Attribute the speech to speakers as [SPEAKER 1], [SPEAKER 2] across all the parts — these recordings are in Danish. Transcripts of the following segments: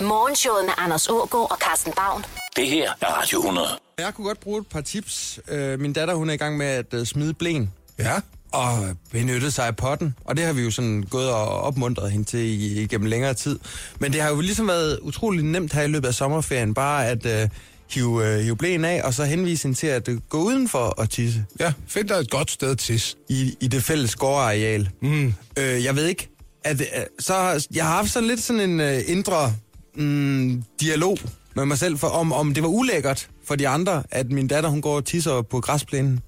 [SPEAKER 1] Morgenshowet med Anders Ågaard og Carsten Baum.
[SPEAKER 2] Det her er Radio 100.
[SPEAKER 3] Jeg kunne godt bruge et par tips. Øh, min datter, hun er i gang med at øh, smide blæen
[SPEAKER 4] Ja.
[SPEAKER 3] og benytte sig af potten. Og det har vi jo sådan gået og opmuntret hende til i- igennem længere tid. Men det har jo ligesom været utrolig nemt her i løbet af sommerferien, bare at øh, hive, øh, hive blæen af, og så henvise hende til at øh, gå udenfor og tisse
[SPEAKER 4] Ja, find dig et godt sted at tisse.
[SPEAKER 3] i, i det fælles gårdareal. Mm. Øh, jeg ved ikke, at, øh, så, har- jeg har haft sådan lidt sådan en øh, indre mm, dialog med mig selv, for om, om det var ulækkert for de andre, at min datter hun går og tisser på græsplænen.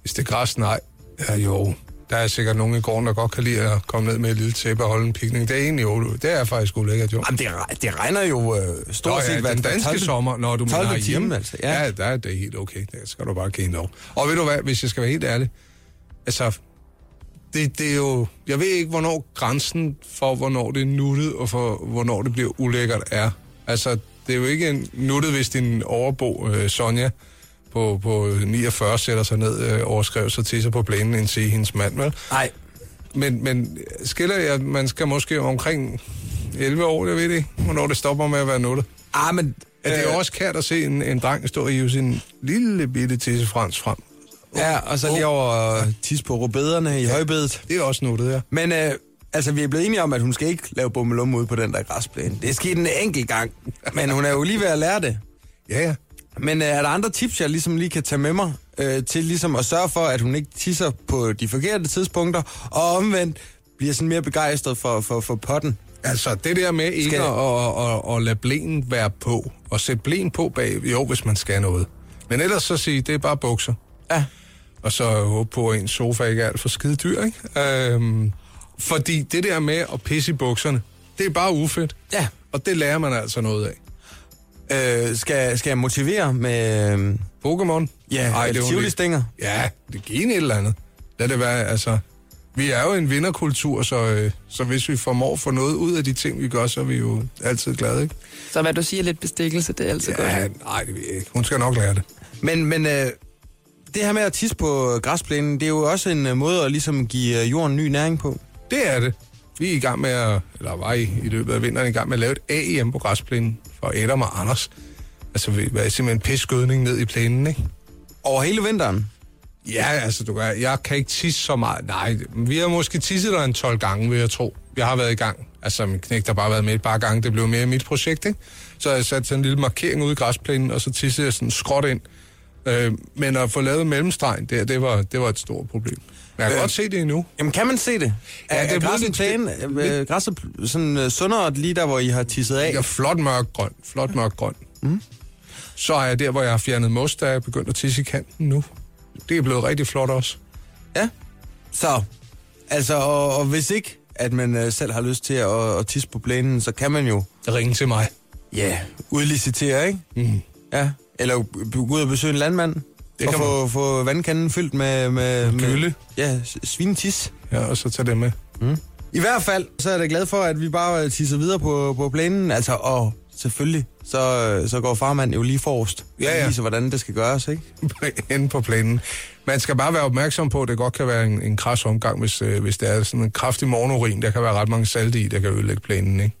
[SPEAKER 4] Hvis det er græs, nej. Ja, jo. Der er sikkert nogen i gården, der godt kan lide at komme ned med et lille tæppe og holde en pikning. Det er egentlig jo, det er faktisk ulækkert, jo.
[SPEAKER 3] Jamen, det, re- det regner jo øh, stort
[SPEAKER 4] Nå,
[SPEAKER 3] set
[SPEAKER 4] ja,
[SPEAKER 3] hver
[SPEAKER 4] den
[SPEAKER 3] hver
[SPEAKER 4] danske
[SPEAKER 3] 12.
[SPEAKER 4] sommer, når du
[SPEAKER 3] 12.
[SPEAKER 4] mener
[SPEAKER 3] time, altså. Ja.
[SPEAKER 4] Ja. ja, der er det helt okay. Det skal du bare kende over. Og ved du hvad, hvis jeg skal være helt ærlig, altså, det, det er jo, jeg ved ikke, hvornår grænsen for, hvornår det er nuttet, og for, hvornår det bliver ulækkert er. Altså, det er jo ikke en nuttet, hvis din overbo, øh, Sonja, på, på 49 sætter sig ned, øh, overskrev sig til sig på blænden, end se hendes mand, vel?
[SPEAKER 3] Nej,
[SPEAKER 4] Men, men skiller jeg, man skal måske omkring 11 år, jeg ved det ikke, hvornår det stopper med at være nuttet.
[SPEAKER 3] ah, men...
[SPEAKER 4] Ja, det er
[SPEAKER 3] øh,
[SPEAKER 4] jo også kært at se en, en dreng stå og hive sin lille bitte tissefrans frem.
[SPEAKER 3] Ja, og så lige over at tisse på rubederne i ja. højbedet.
[SPEAKER 4] Det er også nuttet, ja.
[SPEAKER 3] Men øh, altså, vi er blevet enige om, at hun skal ikke lave bummelum ude på den der græsplæne. Det er sket en enkelt gang, men hun er jo lige ved at lære det.
[SPEAKER 4] Ja, ja.
[SPEAKER 3] Men øh, er der andre tips, jeg ligesom lige kan tage med mig, øh, til ligesom at sørge for, at hun ikke tisser på de forkerte tidspunkter, og omvendt bliver sådan mere begejstret for, for, for potten?
[SPEAKER 4] Altså, det der med ikke
[SPEAKER 3] Skal-
[SPEAKER 4] at, at, at, at lade blæen være på, og sætte blæen på bag, jo, hvis man skal noget. Men ellers så sige, det er bare bukser.
[SPEAKER 3] Ja.
[SPEAKER 4] Og så håbe på, at ens sofa ikke er alt for skide dyr, ikke? Øhm, fordi det der med at pisse i bukserne, det er bare ufedt.
[SPEAKER 3] Ja.
[SPEAKER 4] Og det lærer man altså noget af.
[SPEAKER 3] Øh, skal, skal jeg motivere med... Øh,
[SPEAKER 4] Pokémon?
[SPEAKER 3] Ja,
[SPEAKER 4] Ej, det er
[SPEAKER 3] Tivoli
[SPEAKER 4] hun ikke.
[SPEAKER 3] Stænger.
[SPEAKER 4] Ja, det giver en et eller andet. Lad det være, altså... Vi er jo en vinderkultur, så, øh, så hvis vi formår at få noget ud af de ting, vi gør, så er vi jo altid glade, ikke?
[SPEAKER 5] Så hvad du siger, lidt bestikkelse, det er altid godt.
[SPEAKER 4] Ja, nej, det ved jeg ikke. Hun skal nok lære det.
[SPEAKER 3] Men, men øh, det her med at tisse på græsplænen, det er jo også en øh, måde at ligesom give øh, jorden ny næring på.
[SPEAKER 4] Det er det. Vi er i gang med at, eller var i, i løbet af vinteren i gang med at lave et AEM på græsplænen for Adam og Anders. Altså, vi var simpelthen pisskydning ned i plænen, ikke?
[SPEAKER 3] Over hele vinteren.
[SPEAKER 4] Ja, altså, du kan, jeg kan ikke tisse så meget. Nej, vi har måske tisset der en 12 gange, vil jeg tro. Jeg har været i gang. Altså, min knægt har bare været med et par gange. Det blev mere mit projekt, ikke? Så jeg satte sådan en lille markering ude i græsplænen, og så tissede jeg sådan skråt ind. Øh, men at få lavet mellemstregen der, det var, det var et stort problem. Men jeg kan
[SPEAKER 3] Øh,
[SPEAKER 4] øh, godt se det endnu.
[SPEAKER 3] Jamen, kan man se det?
[SPEAKER 4] Ja,
[SPEAKER 3] Er, ja, er
[SPEAKER 4] det er blevet
[SPEAKER 3] græsset
[SPEAKER 4] lidt-
[SPEAKER 3] plæne, øh, græsset pl- sådan øh, sundere lige der, hvor I har tisset af?
[SPEAKER 4] Jeg er flot mørk grøn. Flot mørk grøn. Mm. Så er jeg der, hvor jeg har fjernet mos, der er jeg begyndt at tisse i kanten nu. Det er blevet rigtig flot også.
[SPEAKER 3] Ja. Så, altså, og, og hvis ikke, at man øh, selv har lyst til at, at tisse på plænen, så kan man jo
[SPEAKER 4] Ring til mig.
[SPEAKER 3] ja, udlicitere, ikke? Mm. Ja. Eller b- gå ud og besøge en landmand. Det og
[SPEAKER 4] kan
[SPEAKER 3] få, få vandkanden fyldt med... med, med
[SPEAKER 4] Gylle.
[SPEAKER 3] Ja, s- svinetis.
[SPEAKER 4] Ja, og så tag det med.
[SPEAKER 3] I hvert fald, så er jeg da glad for, at vi bare øh, tisser videre på, på planen. Altså, og selvfølgelig, så, øh, så går farmand jo lige forrest.
[SPEAKER 4] Ja, ja.
[SPEAKER 3] Og viser, hvordan det skal gøres, ikke?
[SPEAKER 4] inde på planen. Man skal bare være opmærksom på, at det godt kan være en, en kras omgang, hvis, øh, hvis det er sådan en kraftig morgenurin. Der kan være ret mange salte i, der kan ødelægge planen, ikke?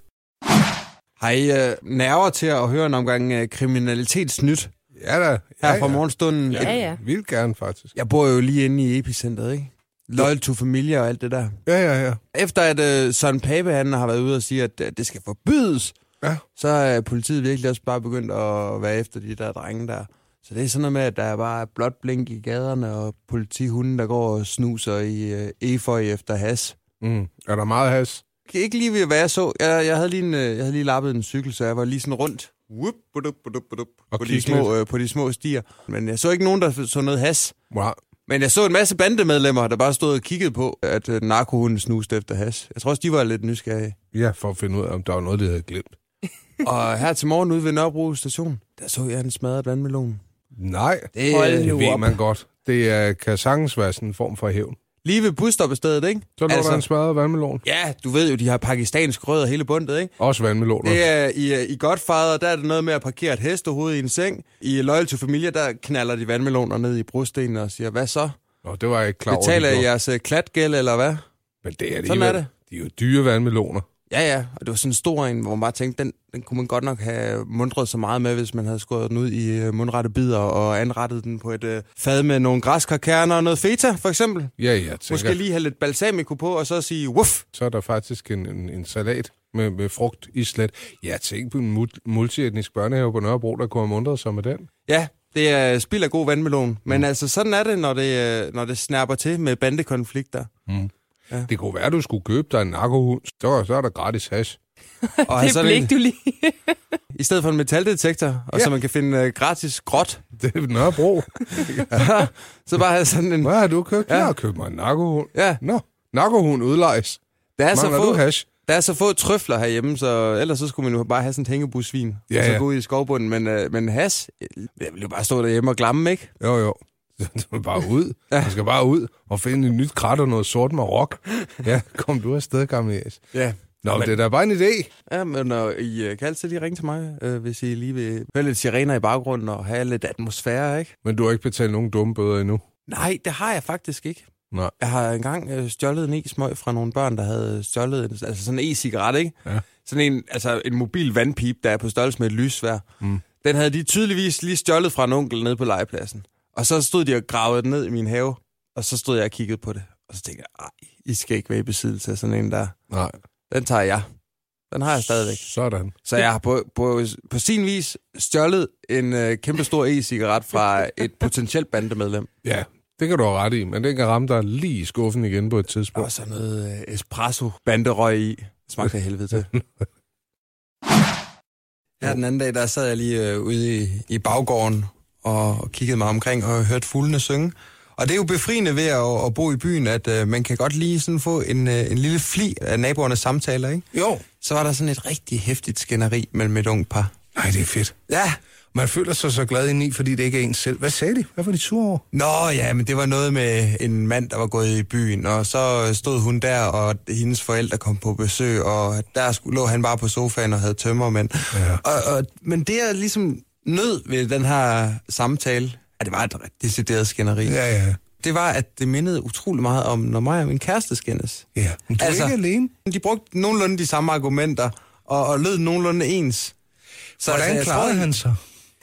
[SPEAKER 3] Har I øh, nerver til at høre en omgang øh, kriminalitetsnyt
[SPEAKER 4] Ja da.
[SPEAKER 3] her ja, fra morgenstunden?
[SPEAKER 4] Ja,
[SPEAKER 3] Et-
[SPEAKER 4] ja. Vildt gerne, faktisk.
[SPEAKER 3] Jeg bor jo lige inde i epicentret, ikke? Loyal to familie og alt det der.
[SPEAKER 4] Ja, ja, ja.
[SPEAKER 3] Efter at øh, Søren Pape han har været ude og sige, at øh, det skal forbydes,
[SPEAKER 4] Ja.
[SPEAKER 3] så er politiet virkelig også bare begyndt at være efter de der drenge der. Så det er sådan noget med, at der er bare blåt blink i gaderne, og politihunden, der går og snuser i øh, eføj efter has.
[SPEAKER 4] Mm. Er der meget has?
[SPEAKER 3] Ikke lige ved, hvad jeg så. Jeg, jeg, havde lige en, øh, jeg havde lige lappet en cykel, så jeg var lige sådan rundt whoop, budup, budup, budup,
[SPEAKER 4] Og
[SPEAKER 3] på, de
[SPEAKER 4] kigge
[SPEAKER 3] små, øh, på de små stier. Men jeg så ikke nogen, der så noget has.
[SPEAKER 4] Wow.
[SPEAKER 3] Men jeg så en masse bandemedlemmer, der bare stod og kiggede på, at øh, narkohunden snuste efter has. Jeg tror også, de var lidt nysgerrige.
[SPEAKER 4] Ja, for at finde ud af, om der var noget, de havde glemt.
[SPEAKER 3] Og her til morgen ude ved Nørrebro station, der så jeg en smadret vandmelon.
[SPEAKER 4] Nej,
[SPEAKER 3] Det, Hold
[SPEAKER 4] det
[SPEAKER 3] nu
[SPEAKER 4] ved
[SPEAKER 3] op.
[SPEAKER 4] man godt. Det er, kan sagtens være sådan en form for hævn.
[SPEAKER 3] Lige ved busstoppestedet, ikke?
[SPEAKER 4] Så lå altså, der en smadret vandmelon.
[SPEAKER 3] ja, du ved jo, de har pakistansk rød og hele bundet, ikke?
[SPEAKER 4] Også vandmeloner.
[SPEAKER 3] Det er i, øh, i Godfather, der er det noget med at parkere et hestehoved i en seng. I Loyal to Familie, der knaller de vandmeloner ned i brostenen og siger, hvad så?
[SPEAKER 4] Nå, det var jeg ikke klar over.
[SPEAKER 3] Betaler
[SPEAKER 4] de
[SPEAKER 3] I
[SPEAKER 4] gjorde.
[SPEAKER 3] jeres øh, klatgæld, eller hvad?
[SPEAKER 4] Men det er det
[SPEAKER 3] Sådan er
[SPEAKER 4] alligevel. De er jo dyre vandmeloner.
[SPEAKER 3] Ja, ja, og det var sådan en stor en, hvor man bare tænkte, den, den kunne man godt nok have mundret så meget med, hvis man havde skåret den ud i øh, mundrette bidder og anrettet den på et øh, fad med nogle græskarkerner og noget feta, for eksempel.
[SPEAKER 4] Ja, ja, tænker.
[SPEAKER 3] Måske lige have lidt balsamico på, og så sige, wuff!
[SPEAKER 4] Så er der faktisk en, en, en salat med, med frugt i slet. Ja, tænk på en mul- multietnisk børnehave på Nørrebro, der kunne have mundret sig med den.
[SPEAKER 3] Ja, det er spild af god vandmelon.
[SPEAKER 4] Mm.
[SPEAKER 3] Men altså, sådan er det, når det, øh, når det snapper til med bandekonflikter.
[SPEAKER 4] Det kunne være, at du skulle købe dig en narkohund. Så, så er der gratis hash.
[SPEAKER 3] Og
[SPEAKER 5] Det blik, du lige...
[SPEAKER 3] I stedet for en metaldetektor, og
[SPEAKER 4] Ja.
[SPEAKER 3] ja. så man kan finde øh, gratis gråt,
[SPEAKER 4] Det er Nørrebro.
[SPEAKER 3] så bare have sådan en...
[SPEAKER 4] Hvad har du købt? Ja.
[SPEAKER 3] Ja.
[SPEAKER 4] Jeg har købt mig en narkohund.
[SPEAKER 3] Ja.
[SPEAKER 4] Nå, narkohund udlejes.
[SPEAKER 3] Der er, så
[SPEAKER 4] Mangler du
[SPEAKER 3] få,
[SPEAKER 4] hash?
[SPEAKER 3] der er så få trøfler herhjemme, så ellers så skulle man jo bare have sådan et hængebusvin,
[SPEAKER 4] Ja,
[SPEAKER 3] og så
[SPEAKER 4] ja.
[SPEAKER 3] gå ud i skovbunden. Men, øh, men has, jeg vil jo bare stå derhjemme og glamme, ikke?
[SPEAKER 4] Jo, jo. Du skal bare ud. Ja. Du skal bare ud og finde et nyt krat og noget sort marok. Ja, kom du afsted, gamle jæs.
[SPEAKER 3] Ja.
[SPEAKER 4] Nå, men det er da bare en idé.
[SPEAKER 3] Ja, men når I øh, kan altid lige ringe til mig, øh, hvis I lige vil høre lidt sirener i baggrunden og have lidt atmosfære, ikke?
[SPEAKER 4] Men du har ikke betalt nogen dumme bøder endnu.
[SPEAKER 3] Nej, det har jeg faktisk ikke.
[SPEAKER 4] Nej.
[SPEAKER 3] Jeg har engang øh, stjålet en e-smøg fra nogle børn, der havde stjålet en, altså sådan en e-cigaret, ikke?
[SPEAKER 4] Ja.
[SPEAKER 3] Sådan en, altså en mobil vandpip, der er på størrelse med et lysvær. Mm. Den havde de tydeligvis lige stjålet fra en onkel nede på legepladsen. Og så stod de og gravede den ned i min have, og så stod jeg og kiggede på det. Og så tænkte jeg, ej, I skal ikke være i besiddelse af sådan en der.
[SPEAKER 4] Nej.
[SPEAKER 3] Den tager jeg. Den har jeg stadigvæk.
[SPEAKER 4] Sådan.
[SPEAKER 3] Så jeg har på, på, på sin vis stjålet en øh, kæmpestor e-cigaret fra et potentielt bandemedlem.
[SPEAKER 4] Ja, det kan du have ret i, men den kan ramme dig lige i skuffen igen på et
[SPEAKER 3] Der var
[SPEAKER 4] tidspunkt.
[SPEAKER 3] sådan noget øh, espresso-banderøg i. Det smagte af helvede til. Her den anden dag, der sad jeg lige øh, ude i, i baggården og, og kiggede mig omkring og hørte fuglene synge. Og det er jo befriende ved at, at bo i byen, at øh, man kan godt lige sådan få en, øh, en lille fli af naboernes samtaler, ikke?
[SPEAKER 4] Jo.
[SPEAKER 3] Så var der sådan et rigtig hæftigt skænderi mellem et ung par.
[SPEAKER 4] Nej, det er fedt.
[SPEAKER 3] Ja,
[SPEAKER 4] Man føler sig så glad indeni, fordi det ikke er en selv. Hvad sagde de? Hvad var de sure over?
[SPEAKER 3] Nå ja, men det var noget med en mand, der var gået i byen, og så stod hun der, og hendes forældre kom på besøg, og der skulle- lå han bare på sofaen og havde tømmermænd. Ja. Og, og, men det er ligesom nød ved den her samtale, at det var et ret decideret skænderi. Ja.
[SPEAKER 4] ja.
[SPEAKER 3] Det var, at det mindede utrolig meget om, når mig og min kæreste skændes.
[SPEAKER 4] ja. Men du altså,
[SPEAKER 3] Altså-
[SPEAKER 4] er ikke alene.
[SPEAKER 3] De brugte nogenlunde de samme argumenter, og, og lød nogenlunde ens. Så altså,
[SPEAKER 4] Hvordan
[SPEAKER 3] jeg tror,
[SPEAKER 4] klarede han sig?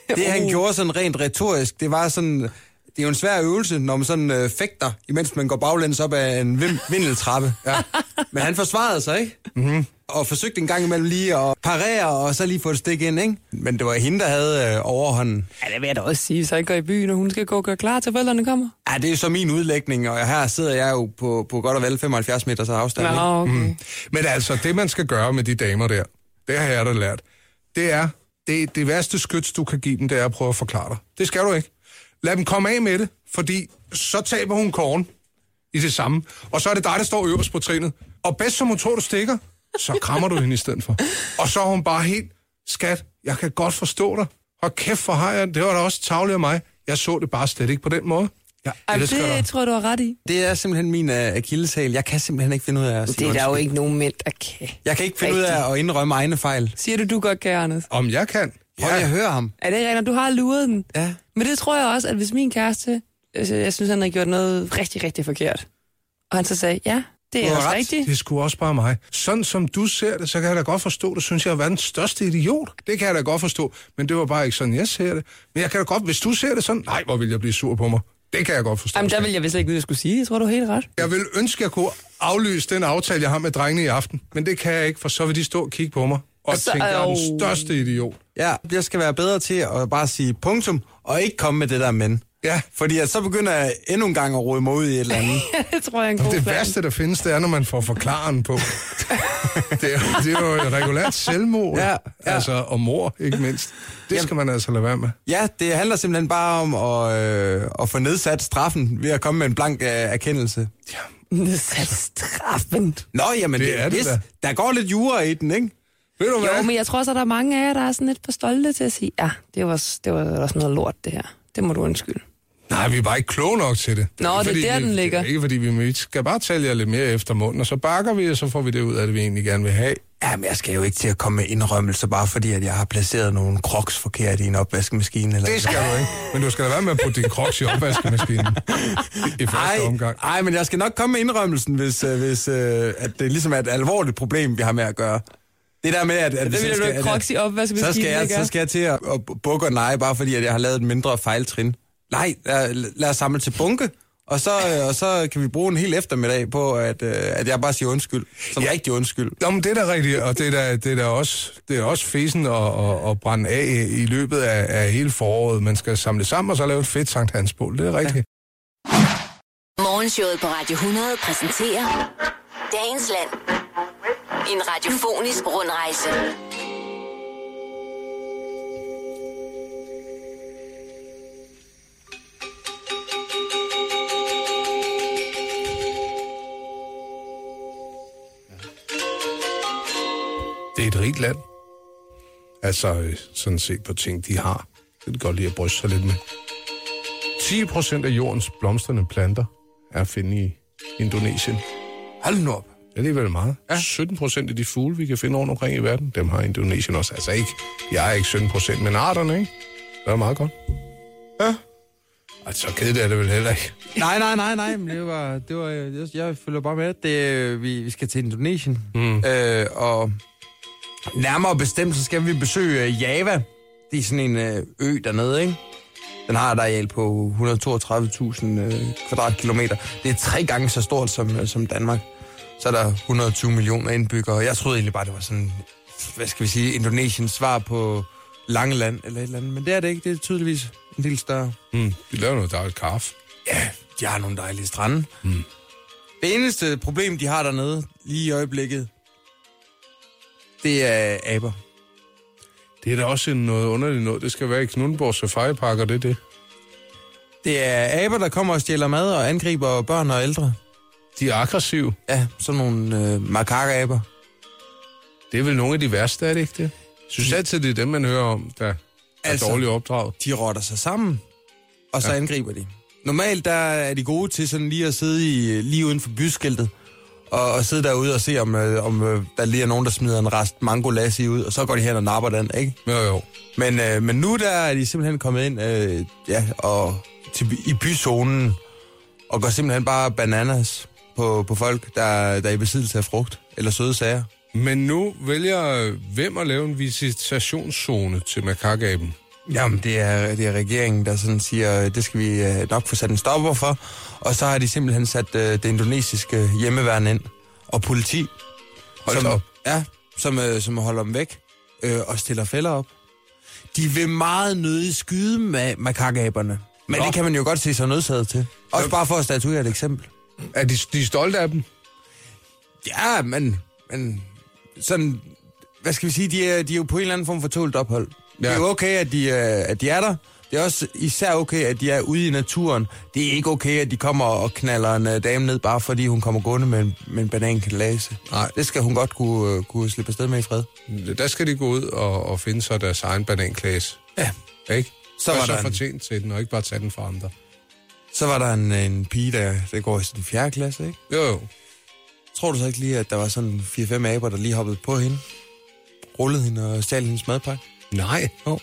[SPEAKER 3] det,
[SPEAKER 5] Uh.
[SPEAKER 3] han gjorde sådan rent retorisk, det var sådan... Det er jo en svær øvelse, når man sådan øh, fægter, imens man går baglæns op ad en vim- vindeltrappe. Ja. Men han forsvarede sig, ikke?
[SPEAKER 5] Mhm.
[SPEAKER 3] Mm-hmm. Og forsøgte en gang imellem lige at parere, og så lige få et stik ind, ikke? Men det var hende, der havde øh, overhånden.
[SPEAKER 5] Ja, det vil jeg da også sige, hvis jeg ikke går i byen, og hun skal gå og gøre klar til forældrene kommer.
[SPEAKER 3] Ja, det er jo så min udlægning, og her sidder jeg jo på, på godt og vel 75 meters afstand. ikke?
[SPEAKER 5] Nå, okay. Mm.
[SPEAKER 4] Men altså, det man skal gøre med de damer der, det har jeg da lært, det er, det, det værste skyts, du kan give dem, det er at prøve at forklare dig. Det skal du ikke. Lad dem komme af med det, fordi så taber hun korn i det samme. Og så er det dig, der står øverst på trinet. Og bedst som hun tror, du stikker, så krammer du hende i stedet for. Og så er hun bare helt, skat, jeg kan godt forstå dig. Og kæft for har jeg, det var da også tavligt af mig. Jeg så det bare slet ikke på den måde. Jeg
[SPEAKER 5] Ej,
[SPEAKER 4] elsker dig.
[SPEAKER 5] det tror jeg, du har ret i.
[SPEAKER 3] Det er simpelthen min øh, akilleshæl. Jeg kan simpelthen ikke finde ud af at sige
[SPEAKER 5] Det er der jo
[SPEAKER 3] undskyld.
[SPEAKER 5] ikke nogen mænd, der kan.
[SPEAKER 3] Jeg kan ikke finde ud af at indrømme egne fejl.
[SPEAKER 5] Siger du, du godt kan, Anders?
[SPEAKER 4] Om jeg kan.
[SPEAKER 3] Prøv lige at høre ham.
[SPEAKER 5] Er det rigtigt? Du har luret den.
[SPEAKER 3] Ja.
[SPEAKER 5] Men det tror jeg også, at hvis min kæreste, altså, jeg synes, han har gjort noget rigtig, rigtig forkert, og han så sagde, ja, det
[SPEAKER 4] Du
[SPEAKER 5] er
[SPEAKER 4] har
[SPEAKER 5] også
[SPEAKER 4] ret.
[SPEAKER 5] rigtigt.
[SPEAKER 4] Det skulle også bare mig. Sådan som du ser det, så kan jeg da godt forstå, du synes, jeg har været den største idiot. Det kan jeg da godt forstå, men det var bare ikke sådan, jeg ser det. Men jeg kan da godt, hvis du ser det sådan, nej, hvor vil jeg blive sur på mig. Det kan jeg godt forstå.
[SPEAKER 5] Jamen, der vil jeg vist ikke vide, at jeg skulle sige. Jeg tror, du har helt ret.
[SPEAKER 4] Jeg vil ønske, at jeg kunne aflyse den aftale, jeg har med drengene i aften. Men det kan jeg ikke, for så vil de stå og kigge på mig og
[SPEAKER 5] Altså,
[SPEAKER 4] tænke, jeg er
[SPEAKER 5] au.
[SPEAKER 4] den største idiot.
[SPEAKER 3] Ja, jeg skal være bedre til at bare sige punktum, og ikke komme med det der men.
[SPEAKER 4] Ja.
[SPEAKER 3] Fordi at så begynder jeg endnu en gang at rode mig ud i et eller andet.
[SPEAKER 5] det tror jeg er en god
[SPEAKER 4] Det
[SPEAKER 5] plan.
[SPEAKER 4] værste, der findes, det er, når man får forklaren på. det, er, det er jo et regulært selvmord,
[SPEAKER 3] Ja, ja.
[SPEAKER 4] altså, og mor, ikke mindst. Det skal man altså lade være med.
[SPEAKER 3] ja, det handler simpelthen bare om at, øh, at få nedsat straffen ved at komme med en blank øh, erkendelse.
[SPEAKER 5] Nedsat straffen.
[SPEAKER 3] Nå, jamen
[SPEAKER 4] Det er det
[SPEAKER 3] vist.
[SPEAKER 4] da.
[SPEAKER 3] Der går lidt jura i den, ikke?
[SPEAKER 4] Ved du
[SPEAKER 5] Jo,
[SPEAKER 4] hvad?
[SPEAKER 5] men jeg tror også, at der er mange af jer, der er sådan lidt for stolte til at sige, ja, det var, det var også noget lort, det her. Det må du undskylde.
[SPEAKER 4] Nej, vi er bare ikke kloge nok til det. Ikke
[SPEAKER 5] Nå, det er
[SPEAKER 4] fordi
[SPEAKER 5] der,
[SPEAKER 4] vi,
[SPEAKER 5] den ligger.
[SPEAKER 4] Ikke fordi vi, vi skal bare tale jer lidt mere efter munden, og så bakker vi, og så får vi det ud af det, vi egentlig gerne vil have.
[SPEAKER 3] Jamen, jeg skal jo ikke til at komme med indrømmelser, bare fordi, at jeg har placeret nogle kroks forkert i en opvaskemaskine. Eller
[SPEAKER 4] Det skal du ikke. Men du skal da være med at putte din kroks i opvaskemaskinen. I- I første omgang.
[SPEAKER 3] Nej, men jeg skal nok komme med indrømmelsen, hvis, øh, hvis øh, at det ligesom er et alvorligt problem, vi har med at gøre. Det der med, at... at hvis
[SPEAKER 5] vil
[SPEAKER 3] jeg
[SPEAKER 5] du ikke
[SPEAKER 3] at-
[SPEAKER 5] crocs i opvaskemaskinen,
[SPEAKER 3] så skal, jeg,
[SPEAKER 5] ikke?
[SPEAKER 3] så skal jeg til at, at bukke og nej, bare fordi at jeg har lavet et mindre fejltrin. Nej, lad, lad os samle til bunke, og så, øh, og så kan vi bruge en hel eftermiddag på, at, øh, at jeg bare siger undskyld. Som ja. rigtig undskyld.
[SPEAKER 4] Nå, men det er da rigtigt, og det er da, det er da også, det er også fesen at, at, at brænde af i løbet af, af hele foråret. Man skal samle sammen og så lave et fedt Sankt Hansbål. Det er rigtigt.
[SPEAKER 1] Morgenshowet på Radio 100 præsenterer Dagens Land. En radiofonisk rundrejse.
[SPEAKER 4] Det er et rigt land. Altså, øh, sådan set på ting, de har. Det kan godt lide at bryste sig lidt med. 10 procent af jordens blomstrende planter er at finde i Indonesien.
[SPEAKER 3] Hold nu op.
[SPEAKER 4] Det er alligevel meget. Ja. 17 procent af de fugle, vi kan finde rundt omkring i verden, dem har Indonesien også. Altså ikke, jeg er ikke 17 procent, men arterne, ikke? Det er meget godt.
[SPEAKER 3] Ja.
[SPEAKER 4] Altså, så kedeligt er det vel heller ikke.
[SPEAKER 3] Nej, nej, nej, nej, men det var, det var, øh, jeg, jeg følger bare med, det, øh, vi, vi skal til Indonesien, mm. øh, og nærmere bestemt, så skal vi besøge øh, Java, det er sådan en øh, ø dernede, ikke? Den har et areal på 132.000 øh, kvadratkilometer, det er tre gange så stort som, øh, som Danmark, så er der 120 millioner indbyggere, jeg troede egentlig bare, det var sådan, hvad skal vi sige, Indonesiens svar på Langeland eller et eller andet, men det er det ikke, det er tydeligvis en del større.
[SPEAKER 4] Mm. De laver noget dejligt kaffe.
[SPEAKER 3] Ja, de har nogle dejlige strande. Mm. Det eneste problem, de har dernede lige i øjeblikket, det er aber.
[SPEAKER 4] Det er da også noget underligt noget. Det skal være i Knudborg Safari Park, og det er det.
[SPEAKER 3] Det er aber, der kommer og stjæler mad og angriber børn og ældre.
[SPEAKER 4] De er aggressive.
[SPEAKER 3] Ja, sådan nogle øh, makakaber.
[SPEAKER 4] Det er vel nogle af de værste, er det ikke det? Jeg synes altid, det er dem, man hører om, der er
[SPEAKER 3] Mm. Altså-
[SPEAKER 4] altså, dårligt opdraget.
[SPEAKER 3] De rotter sig sammen, og så ja. angriber de. Normalt der er de gode til sådan lige at sidde i, øh, lige uden for byskiltet, og, og sidde derude og se, om, øh, om øh, der lige er nogen, der smider en rest mango lassi ud, og så går de hen og napper den, ikke?
[SPEAKER 4] Jo, jo.
[SPEAKER 3] Men, øh, men nu der er de simpelthen kommet ind øh, ja, og til, i byzonen og går simpelthen bare bananas på, på folk, der, der er i besiddelse af frugt eller søde sager.
[SPEAKER 4] Men nu vælger øh, hvem at lave en visitationszone til makakaben?
[SPEAKER 3] Jamen, det er, det er regeringen, der sådan siger, øh, det skal vi øh, nok få sat en stopper for. Og så har de simpelthen sat øh, det indonesiske hjemmeværn ind og politi,
[SPEAKER 4] Hold da
[SPEAKER 3] som,
[SPEAKER 4] op.
[SPEAKER 3] ja, som, øh, som holder dem væk øh, og stiller fælder op. De vil meget nødig skyde med makakaberne. Men
[SPEAKER 4] Nå.
[SPEAKER 3] det kan man jo godt se sig nødsaget til. Også bare for at statuere et eksempel.
[SPEAKER 4] Er de, de er stolte af dem?
[SPEAKER 3] Ja, men, men sådan, hvad skal vi sige, de er, de er jo på en eller anden form for tålt ophold. Ja. Det er
[SPEAKER 4] Ja.
[SPEAKER 3] jo okay, at de, øh, at de er der. Det er også især okay, at de er ude i naturen. Det er ikke okay, at de kommer og knaller en øh, dame ned, bare fordi hun kommer gående med en, med en banankalase.
[SPEAKER 4] Nej.
[SPEAKER 3] Det skal hun godt kunne, øh, kunne slippe afsted med i fred.
[SPEAKER 4] Der skal de gå ud og, og finde sig deres egen bananklasse.
[SPEAKER 3] Ja.
[SPEAKER 4] Ikke?
[SPEAKER 3] Så
[SPEAKER 4] Så
[SPEAKER 3] var
[SPEAKER 4] var
[SPEAKER 3] der
[SPEAKER 4] så
[SPEAKER 3] en-
[SPEAKER 4] fortjent til den, og ikke bare tage den fra andre.
[SPEAKER 3] Så var der en, en pige, der, der går i sin fjerde klasse, ikke?
[SPEAKER 4] Jo, jo.
[SPEAKER 3] Tror du så ikke lige, at der var sådan 4-5 aber, der lige hoppede på hende? Rullede hende og stjal hendes madpakke?
[SPEAKER 4] Nej. Jo.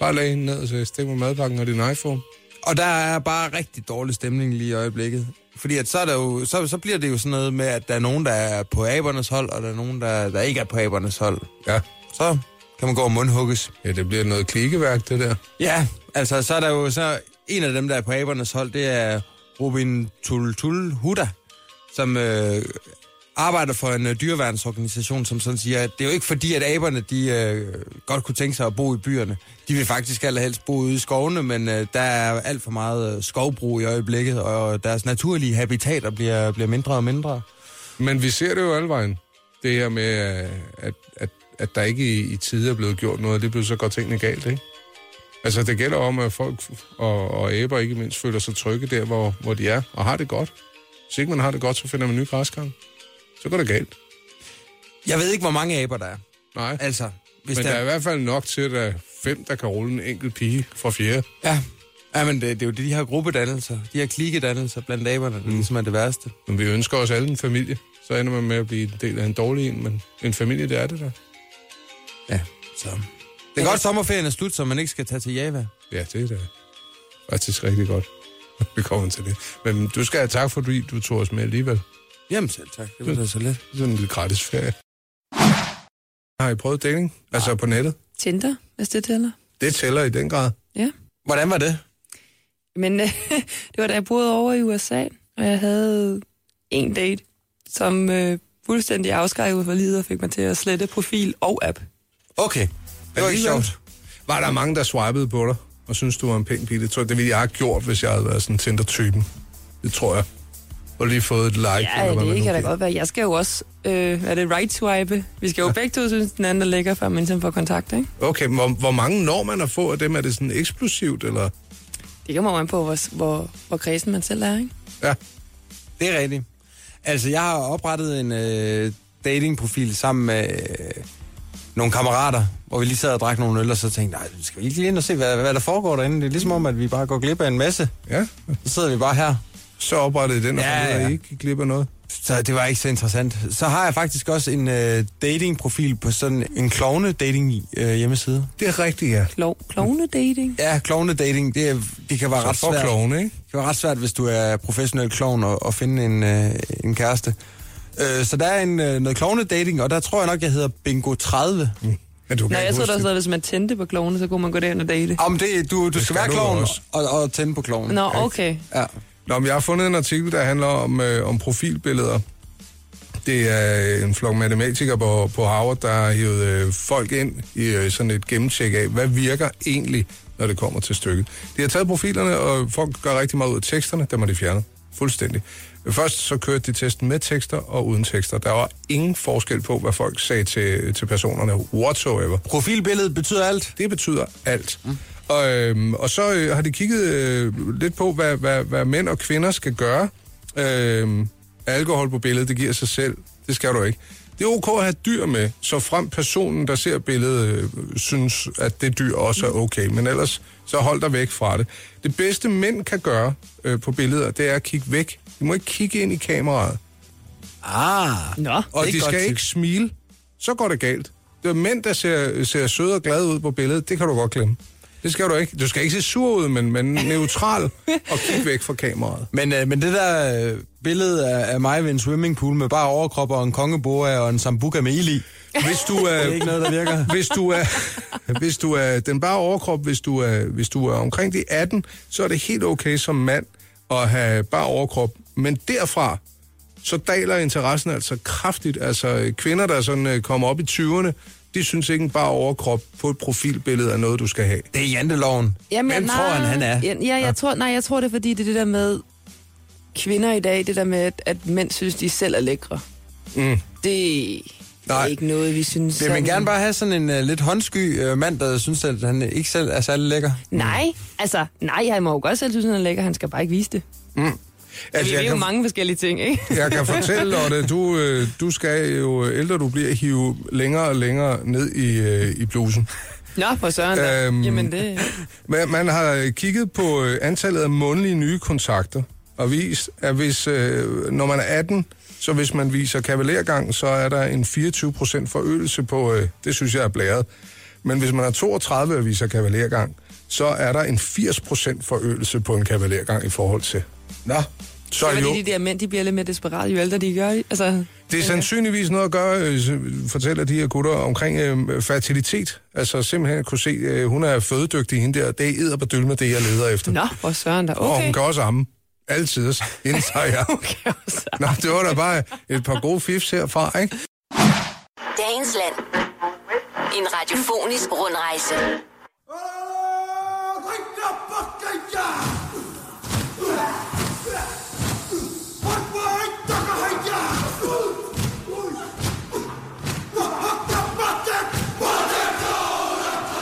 [SPEAKER 4] Bare lag hende ned og sagde, stik med madpakken og din iPhone.
[SPEAKER 3] Og der er bare rigtig dårlig stemning lige i øjeblikket. Fordi at så, er der jo, så, så bliver det jo sådan noget med, at der er nogen, der er på abernes hold, og der er nogen, der, der ikke er på abernes hold.
[SPEAKER 4] Ja.
[SPEAKER 3] Så kan man gå og mundhugges.
[SPEAKER 4] Ja, det bliver noget klikkeværk, det der.
[SPEAKER 3] Ja, altså så er der jo så... En af dem, der er på abernes hold, det er Robin Tultul Huda, som øh, arbejder for en øh, dyreværnsorganisation, som sådan siger, at det er jo ikke fordi, at aberne de, øh, godt kunne tænke sig at bo i byerne. De vil faktisk allerhelst bo ude i skovene, men øh, der er alt for meget øh, skovbrug i øjeblikket, og deres naturlige habitater bliver, bliver mindre og mindre.
[SPEAKER 4] Men vi ser det jo alle vejen. Det her med, øh, at, at, at der ikke i, i tide er blevet gjort noget, det blev så godt tingene galt, ikke? Altså, det gælder om, at folk og, og æber ikke mindst føler sig trygge der, hvor, hvor de er, og har det godt. Hvis ikke man har det godt, så finder man en ny græsgang. Så går det galt.
[SPEAKER 3] Jeg ved ikke, hvor mange aber der er.
[SPEAKER 4] Nej.
[SPEAKER 3] Altså, hvis
[SPEAKER 4] Men der er i hvert fald nok til, at der er fem, der kan rulle en enkelt pige fra fjerde.
[SPEAKER 3] Ja, ja men det, det er jo det,
[SPEAKER 4] Mm.
[SPEAKER 3] de her gruppedannelser, de her klikedannelser blandt aberne, der ligesom er det værste.
[SPEAKER 4] Men vi ønsker os alle en familie, så ender man med at blive en del af en dårlig en, men en familie, det er det der.
[SPEAKER 3] Ja, så. Det er godt, sommerferien er slut, så man ikke skal tage til Java.
[SPEAKER 4] Ja, det er da faktisk rigtig godt. Vi kommer til det. Men du skal have tak, fordi du tog os med alligevel.
[SPEAKER 3] Jamen selv tak, det var da så let.
[SPEAKER 4] Det er sådan en lille gratis ferie. Har I prøvet dating? Altså på nettet?
[SPEAKER 5] Tinder, hvis det tæller.
[SPEAKER 4] Det tæller i den grad.
[SPEAKER 5] Ja.
[SPEAKER 3] Hvordan var det?
[SPEAKER 5] Men øh, det var da jeg boede over i USA, og jeg havde en date, som øh, fuldstændig afskrækkede mig for livet og fik mig til at slette profil og app.
[SPEAKER 3] Okay, det var ikke
[SPEAKER 4] Alligevel.
[SPEAKER 3] sjovt.
[SPEAKER 4] Var der mange, der swipede på dig, og synes du var en pæn pige? Det tror jeg, det ville jeg have gjort, hvis jeg havde været sådan Tinder-typen. Det tror jeg. Og lige fået et like.
[SPEAKER 5] Ja,
[SPEAKER 4] hvad man
[SPEAKER 5] det
[SPEAKER 4] nu
[SPEAKER 5] kan da
[SPEAKER 4] giver.
[SPEAKER 5] godt være. Jeg skal jo også, øh, er det right swipe? Vi skal jo begge to synes, den anden er lækker, før man ligesom får kontakt, ikke?
[SPEAKER 4] Okay, hvor, hvor mange når man at få af dem? Er det sådan eksplosivt, eller?
[SPEAKER 5] Det kommer jo an på, hvor, hvor, hvor kredsen man selv er, ikke?
[SPEAKER 4] Ja,
[SPEAKER 3] Det er rigtigt. Altså, jeg har oprettet en øh, datingprofil sammen med øh, nogle kammerater, hvor vi lige sad og drak nogle øl, og så tænkte nej, skal vi ikke lige ind og se, hvad, hvad der foregår derinde? Det er ligesom om, at vi bare går glip af en masse.
[SPEAKER 4] ja.
[SPEAKER 3] Så sidder vi bare her.
[SPEAKER 4] Så oprettede I den, og
[SPEAKER 3] Ja,
[SPEAKER 4] ja, fandt ud af,
[SPEAKER 3] ja.
[SPEAKER 4] at I ikke gik glip af noget.
[SPEAKER 3] Så det var ikke så interessant. Så har jeg faktisk også en øh, datingprofil på sådan en klovne dating øh, hjemmeside.
[SPEAKER 4] Det er rigtigt, ja.
[SPEAKER 5] Klo, klovne dating.
[SPEAKER 3] Ja, klovne dating, det, er- det kan være ret
[SPEAKER 4] Så for
[SPEAKER 3] svært.
[SPEAKER 4] klovne, ikke?
[SPEAKER 3] Det var ret svært, hvis du er professionel klovn og, og finde en, øh, en kæreste. Øh, så der er en, øh, noget klovne dating, og der tror jeg nok, jeg hedder Bingo 30. Mm.
[SPEAKER 4] Ja, du kan
[SPEAKER 5] Nå,
[SPEAKER 4] ikke
[SPEAKER 5] jeg tror
[SPEAKER 4] huske
[SPEAKER 5] da
[SPEAKER 4] det.
[SPEAKER 5] også, at hvis man tændte på klovene, så kunne man gå derind og date.
[SPEAKER 3] Om det, du, du skal,
[SPEAKER 4] skal
[SPEAKER 3] være
[SPEAKER 4] du
[SPEAKER 3] klovn
[SPEAKER 4] også.
[SPEAKER 3] og, og tænde på klovnen.
[SPEAKER 5] Nå, okay.
[SPEAKER 3] Ja.
[SPEAKER 4] Nå, men jeg har fundet en artikel, der handler om, øh, om profilbilleder. Det er øh, en flok matematikere på, på Harvard, der har hivet øh, folk ind i øh, sådan et gennemtjek af, hvad virker egentlig, når det kommer til stykket. De har taget profilerne, og folk gør rigtig meget ud af teksterne. Dem har de fjernet. Fuldstændig. Først så kørte de testen med tekster og uden tekster. Der var ingen forskel på, hvad folk sagde til, til personerne whatsoever.
[SPEAKER 3] Profilbilledet betyder alt.
[SPEAKER 4] Det betyder alt. Mm. Og, øhm, og så øh, har de kigget øh, lidt på, hvad, hvad, hvad mænd og kvinder skal gøre. Øhm, alkohol på billedet, det giver sig selv. Det skal du ikke. Det er okay at have dyr med, så frem personen, der ser billedet, øh, synes, at det dyr også er okay. Men ellers, så hold dig væk fra det. Det bedste mænd kan gøre øh, på billeder, det er at kigge væk. De må ikke kigge ind i kameraet.
[SPEAKER 3] Ah.
[SPEAKER 5] Nå.
[SPEAKER 4] Og
[SPEAKER 3] Det er
[SPEAKER 4] de
[SPEAKER 3] et godt
[SPEAKER 4] skal
[SPEAKER 3] tip.
[SPEAKER 4] ikke smile. Så går det galt. Det er mænd, der ser, ser søde og glade ud på billedet. Det kan du godt glemme. Det skal du ikke. Du skal ikke se sur ud, men, men neutral og kigge væk fra kameraet.
[SPEAKER 3] Men, øh, men det der øh, billede af, af mig ved en swimmingpool med bare overkrop og en kongeboa og en sambuca med ild i, øh,
[SPEAKER 4] Hvis du øh,
[SPEAKER 3] det er
[SPEAKER 4] er,
[SPEAKER 3] ikke noget, der virker.
[SPEAKER 4] hvis du er, hvis du er den bare overkrop, hvis du er, hvis du er omkring de 18, så er det helt okay som mand at have bare overkrop. Men derfra, så daler interessen altså kraftigt. Altså øh, kvinder, der sådan øh, kommer op i 20'erne, de synes ikke en bare overkrop på et profilbillede er noget, du skal have.
[SPEAKER 3] Det er janteloven.
[SPEAKER 5] Jamen,
[SPEAKER 3] Hvem
[SPEAKER 5] nej,
[SPEAKER 3] tror han, han er?
[SPEAKER 5] Ja, ja, jeg Tror, nej, jeg tror det, er, fordi det er det der med kvinder i dag, det der med, at, at mænd synes, de selv er lækre. Mm. Det nej. er
[SPEAKER 3] Nej.
[SPEAKER 5] ikke noget, vi synes...
[SPEAKER 3] Vil man
[SPEAKER 5] sådan-
[SPEAKER 3] gerne bare have sådan en uh, lidt håndsky uh, mand, der synes, at han ikke selv er særlig lækker?
[SPEAKER 5] Nej, altså, nej, han må jo godt selv synes, han er lækker, han skal bare ikke vise det. Altså, det er jo
[SPEAKER 4] kan-
[SPEAKER 5] mange forskellige ting, ikke?
[SPEAKER 4] Jeg kan fortælle, Lotte, du, øh, du skal jo, øh, ældre du bliver, hive længere og længere ned i, øh, i blusen.
[SPEAKER 5] Nå, for søren da.
[SPEAKER 4] Øhm.
[SPEAKER 5] Jamen, det...
[SPEAKER 4] Man, man har øh, kigget på øh, antallet af månedlige nye kontakter og vist, at hvis, øh, når man er 18, så hvis man viser kavalergang, så er der en 24 procent forøgelse på, øh, det synes jeg er blæret. Men hvis man er 32 og viser kavalergang, så er der en 80 procent forøgelse på en kavalergang i forhold til. Nå, så
[SPEAKER 5] Så
[SPEAKER 4] er
[SPEAKER 5] er
[SPEAKER 4] det jo...
[SPEAKER 5] fordi de der mænd, de bliver lidt mere desperate, jo ældre de gør. Altså,
[SPEAKER 4] Det er sandsynligvis noget at gøre, øh, s- fortæller de her gutter, omkring øh, fertilitet. Altså simpelthen at kunne se, øh, hun er fødedygtig hende der, det er edderbedyl med det, jeg leder efter.
[SPEAKER 5] nå, for søren da.
[SPEAKER 4] Og
[SPEAKER 5] Okay.
[SPEAKER 4] hun kan også amme. Altid. Hende tager jeg.
[SPEAKER 5] Okay, altså.
[SPEAKER 4] Nå, det var da bare et par gode fifs herfra, ikke?
[SPEAKER 1] Dagens land. En radiofonisk rundrejse.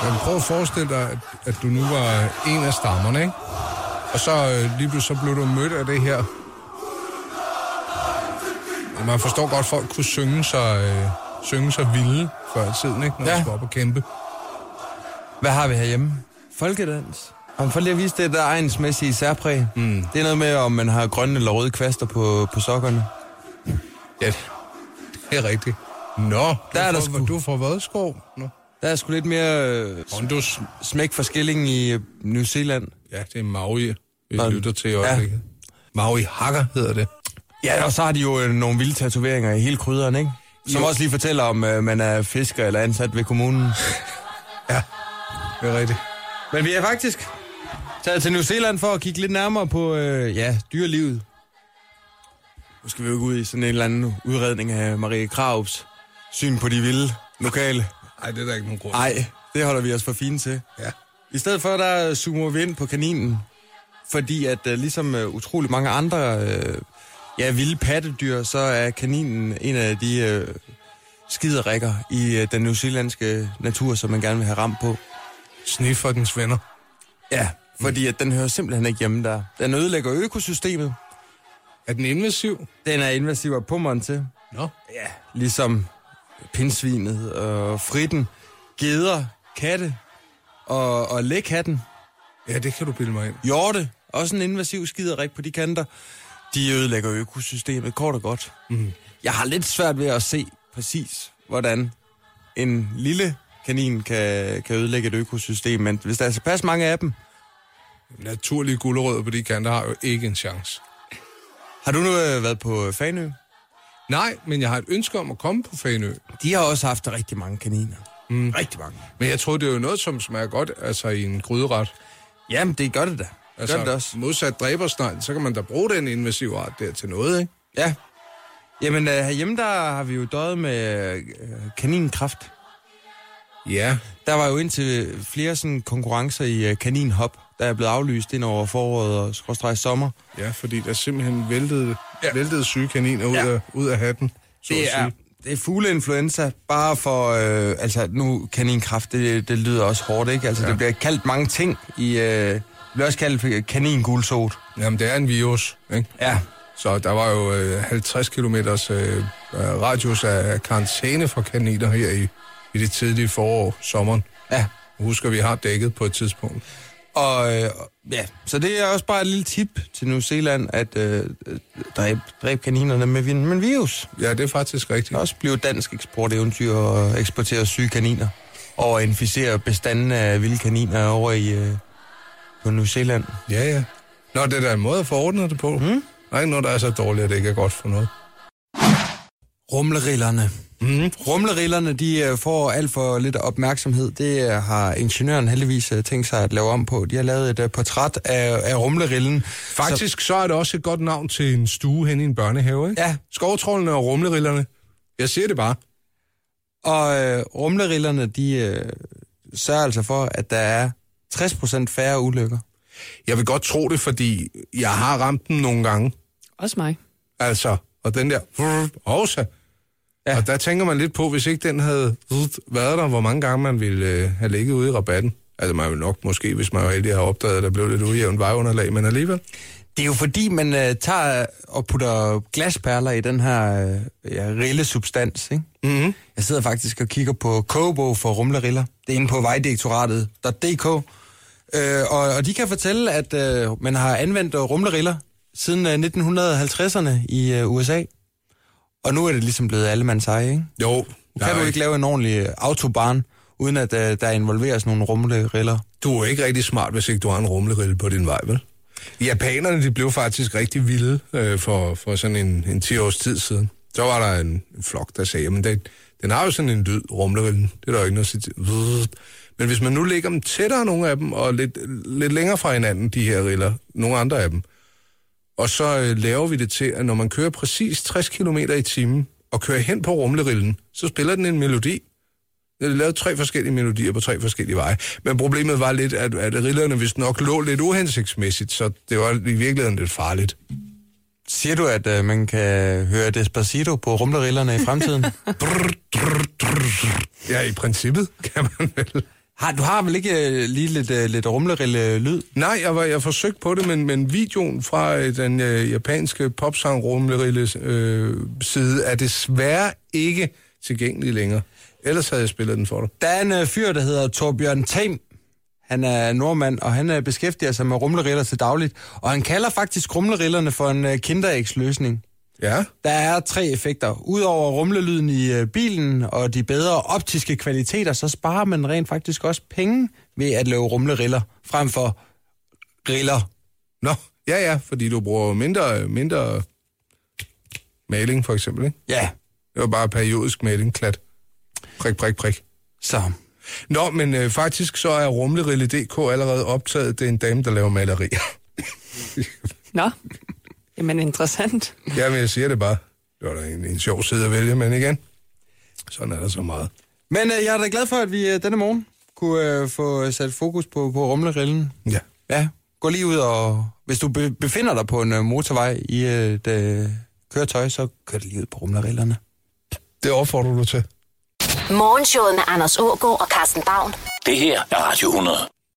[SPEAKER 4] Men prøv at forestille dig, at, at du nu var en af stammerne, ikke? Og så øh, lige pludselig så blev du mødt af det her. Og Man forstår godt, at folk kunne synge sig, øh, synge sig vilde før i tiden, ikke? Når ja.
[SPEAKER 3] Ja.
[SPEAKER 4] de skulle op og kæmpe.
[SPEAKER 3] Hvad har vi herhjemme? Folkedans. Om for lige at vise det der egensmæssige særpræg. Mm. Det er noget med, om man har grønne eller røde kvaster på, på sokkerne.
[SPEAKER 4] Ja, det er rigtigt. Nå, du
[SPEAKER 3] Der er
[SPEAKER 4] er
[SPEAKER 3] der
[SPEAKER 4] fra,
[SPEAKER 3] sgu.
[SPEAKER 4] du er fra Vodskov. Nå.
[SPEAKER 3] Der er sgu lidt mere øh,
[SPEAKER 4] Hondus.
[SPEAKER 3] smæk for skillingen i øh, New Zealand.
[SPEAKER 4] Ja, det er Maui, vi
[SPEAKER 3] Nå,
[SPEAKER 4] lytter til i
[SPEAKER 3] ja.
[SPEAKER 4] øjeblikket. Maui Hakker hedder det.
[SPEAKER 3] Ja, og så har de jo øh, nogle vilde tatoveringer i hele krydderen, ikke? Som
[SPEAKER 4] Jo.
[SPEAKER 3] også lige fortæller, om øh, man er fisker eller ansat ved kommunen.
[SPEAKER 4] Det er rigtigt.
[SPEAKER 3] Men vi er faktisk taget til New Zealand for at kigge lidt nærmere på, øh, ja, dyrelivet. Nu skal vi jo ikke ud i sådan en eller anden udredning af Marie Kraups syn på de vilde lokale.
[SPEAKER 4] Nej, det er der ikke nogen grund. til.
[SPEAKER 3] Nej, det holder vi os for fine til.
[SPEAKER 4] Ja.
[SPEAKER 3] I stedet for, der zoomer vi ind på kaninen. Fordi at øh, ligesom øh, utrolig mange andre øh, ja, vilde pattedyr, så er kaninen en af de øh, skiderikker i øh, den newzealandske natur, som man gerne vil have ramt på.
[SPEAKER 4] Sniffertens venner.
[SPEAKER 3] Ja, fordi at den hører simpelthen ikke hjemme der. Den ødelægger økosystemet.
[SPEAKER 4] Er den invasiv?
[SPEAKER 3] Den er invasiv af pummeren til.
[SPEAKER 4] Nå.
[SPEAKER 3] Ja, ligesom pindsvinet og fritten, geder, katte og, og lægkatten.
[SPEAKER 4] Ja, det kan du bilde mig ind.
[SPEAKER 3] Hjorte, også en invasiv skiderik på de kanter. De ødelægger økosystemet, kort og godt. Mm. Jeg har lidt svært ved at se præcis, hvordan en lille kanin kan, kan ødelægge et økosystem, men hvis der er tilpas mange af dem,
[SPEAKER 4] Naturlige gulerødder på de kanter har jo ikke en chance.
[SPEAKER 3] har du nu øh, været på Fanø?
[SPEAKER 4] Nej, men jeg har et ønske om at komme på Fanø.
[SPEAKER 3] De har også haft rigtig mange kaniner. Mm. Rigtig mange.
[SPEAKER 4] Men jeg tror, det er jo noget, som smager godt altså i en gryderet.
[SPEAKER 3] Jamen, det gør det da. Altså,
[SPEAKER 4] Altså,
[SPEAKER 3] gør det da også.
[SPEAKER 4] modsat dræbersnegl, så kan man da bruge den invasive art der til noget, ikke?
[SPEAKER 3] Ja. Jamen, øh, herhjemme der har vi jo døjet med øh, kaninkraft.
[SPEAKER 4] Ja,
[SPEAKER 3] Der var jo indtil flere sådan, konkurrencer i øh, kaninhop, der er blevet aflyst ind over foråret og skråstreg sommer.
[SPEAKER 4] ja fordi der simpelthen væltede, ja. væltede syge kaniner ud,
[SPEAKER 3] Ja.
[SPEAKER 4] ja. af, ud af hatten. Så at
[SPEAKER 3] Det er,
[SPEAKER 4] sige.
[SPEAKER 3] det er fugleinfluenza, bare for, øh, altså nu kaninkraft, det, det lyder også hårdt, ikke? Altså ja. det bliver kaldt mange ting i, øh, det bliver også kaldt øh, kaningulsot.
[SPEAKER 4] Jamen, det er en virus, ikke?
[SPEAKER 3] Ja.
[SPEAKER 4] Så der var jo øh, 50 km øh, øh, radius af karantæne for kaniner her i, i det tidlige forår, sommeren.
[SPEAKER 3] Ja.
[SPEAKER 4] Husker, vi har dækket på et tidspunkt.
[SPEAKER 3] Og øh, ja, så det er også bare et lille tip til New Zealand, at øh, øh, dræb, dræb kaninerne med, vin- med en virus.
[SPEAKER 4] Ja, det er faktisk
[SPEAKER 3] Det
[SPEAKER 4] rigtigt.
[SPEAKER 3] kan også blive et dansk eksporteventyr at eksportere syge kaniner og inficere bestanden af vilde kaniner over i øh, på New Zealand.
[SPEAKER 4] Ja, ja. Nå, det er da en måde at forordne det på. Mm? Nej, når der er så dårligt, at det ikke er godt for noget.
[SPEAKER 3] Rumlerillerne.
[SPEAKER 4] Mm.
[SPEAKER 3] Mm-hmm. Rumlerillerne, de øh, får alt for lidt opmærksomhed. Det øh, har ingeniøren heldigvis øh, tænkt sig at lave om på. De har lavet et øh, portræt af, af rumlerillen.
[SPEAKER 4] Faktisk så... så er det også et godt navn til en stue hen i en børnehave, ikke?
[SPEAKER 3] Ja,
[SPEAKER 4] Skovtrollene og rumlerillerne. Jeg siger det bare.
[SPEAKER 3] og øh, rumlerillerne, de øh, sørger altså for, at der er 60% færre ulykker.
[SPEAKER 4] Jeg vil godt tro det, fordi jeg har ramt den nogle gange.
[SPEAKER 5] Også mig.
[SPEAKER 4] Altså, og den der... Også.
[SPEAKER 3] Ja.
[SPEAKER 4] Ja. Og der tænker man lidt på, hvis ikke den havde været der, hvor mange gange man ville øh, have ligget ude i rabatten. Altså, man ville nok måske, hvis man var heldig, have opdaget, at der blev lidt ujævnt vejunderlag, men alligevel.
[SPEAKER 3] Det er jo fordi, man øh, tager og putter glasperler i den her øh, ja, rillesubstans, ikke?
[SPEAKER 4] Mm-hmm.
[SPEAKER 3] Jeg sidder faktisk og kigger på kogebog for rumleriller. Det er inde på vejdirektoratet.dk. Øh, og, og de kan fortælle, at øh, man har anvendt øh, rumleriller siden øh, 1950'erne i øh, USA. Og nu er det ligesom blevet allemands eje, ikke?
[SPEAKER 4] Jo,
[SPEAKER 3] Kan du ikke lave en ordentlig øh, autobahn, uden at øh, der involveres nogle rumleriller?
[SPEAKER 4] du er ikke rigtig smart, hvis ikke du har en rumlerille på din vej, vel? Japanerne, de blev faktisk rigtig vilde øh, for, for sådan en, en 10 års tid siden. Så var der en, en flok, der sagde, men den, den har jo sådan en lyd, rumlerillen. Det er der jo ikke noget at sige til. Vrrr. Men hvis man nu lægger dem tættere, nogle af dem, og lidt, lidt længere fra hinanden, de her riller, nogle andre af dem, og så øh, laver vi det til, at når man kører præcis 60 km i timen, og kører hen på rumlerillen, så spiller den en melodi, jeg lavede tre forskellige melodier på tre forskellige veje. Men problemet var lidt, at, at rillerne vist nok lå lidt uhensigtsmæssigt, så det var i virkeligheden lidt farligt.
[SPEAKER 3] Siger du, at øh, man kan høre Despacito på rumlerillerne i fremtiden?
[SPEAKER 4] Ja, i princippet kan man vel.
[SPEAKER 3] har, du har vel ikke øh, lige lidt, øh, lidt rumlerille-lyd?
[SPEAKER 4] Nej, jeg, var, jeg forsøgte på det, men, men videoen fra øh, den øh, japanske popsang Rumlerilles øh, side er desværre ikke tilgængelig længere. Ellers havde jeg spillet den for dig.
[SPEAKER 3] Der er en øh, fyr, der hedder Torbjørn Tam. Han er nordmand, og han øh, beskæftiger sig med rumleriller til dagligt. Og han kalder faktisk rumlerillerne for en øh, kinderægsløsning.
[SPEAKER 4] Ja.
[SPEAKER 3] Der er tre effekter. Udover rumlelyden i øh, bilen og de bedre optiske kvaliteter, så sparer man rent faktisk også penge ved at lave rumleriller frem for riller.
[SPEAKER 4] Nå, ja, ja, fordi du bruger mindre, mindre maling, for eksempel, ikke?
[SPEAKER 3] Ja,
[SPEAKER 4] Det var bare periodisk maling, klat. Prik, prik, prik.
[SPEAKER 3] så
[SPEAKER 4] Nå, men øh, faktisk så er rumlerille.dk allerede optaget. Det er en dame, der laver maleri.
[SPEAKER 5] Nå, jamen interessant.
[SPEAKER 4] ja, men jeg siger det bare. Det var da en, en sjov side at vælge, men igen. Sådan er der så meget.
[SPEAKER 3] Men øh, jeg er da glad for, at vi øh, denne morgen kunne øh, få sat fokus på, på rumlerillen.
[SPEAKER 4] Ja.
[SPEAKER 3] Ja, gå lige ud og... Hvis du be- befinder dig på en øh, motorvej i øh, et øh, køretøj, så kør det lige ud på rumlerillerne.
[SPEAKER 4] Det opfordrer du til.
[SPEAKER 1] Morgenshowet med Anders Ågaard og Carsten Baum.
[SPEAKER 2] Det her er Radio 100.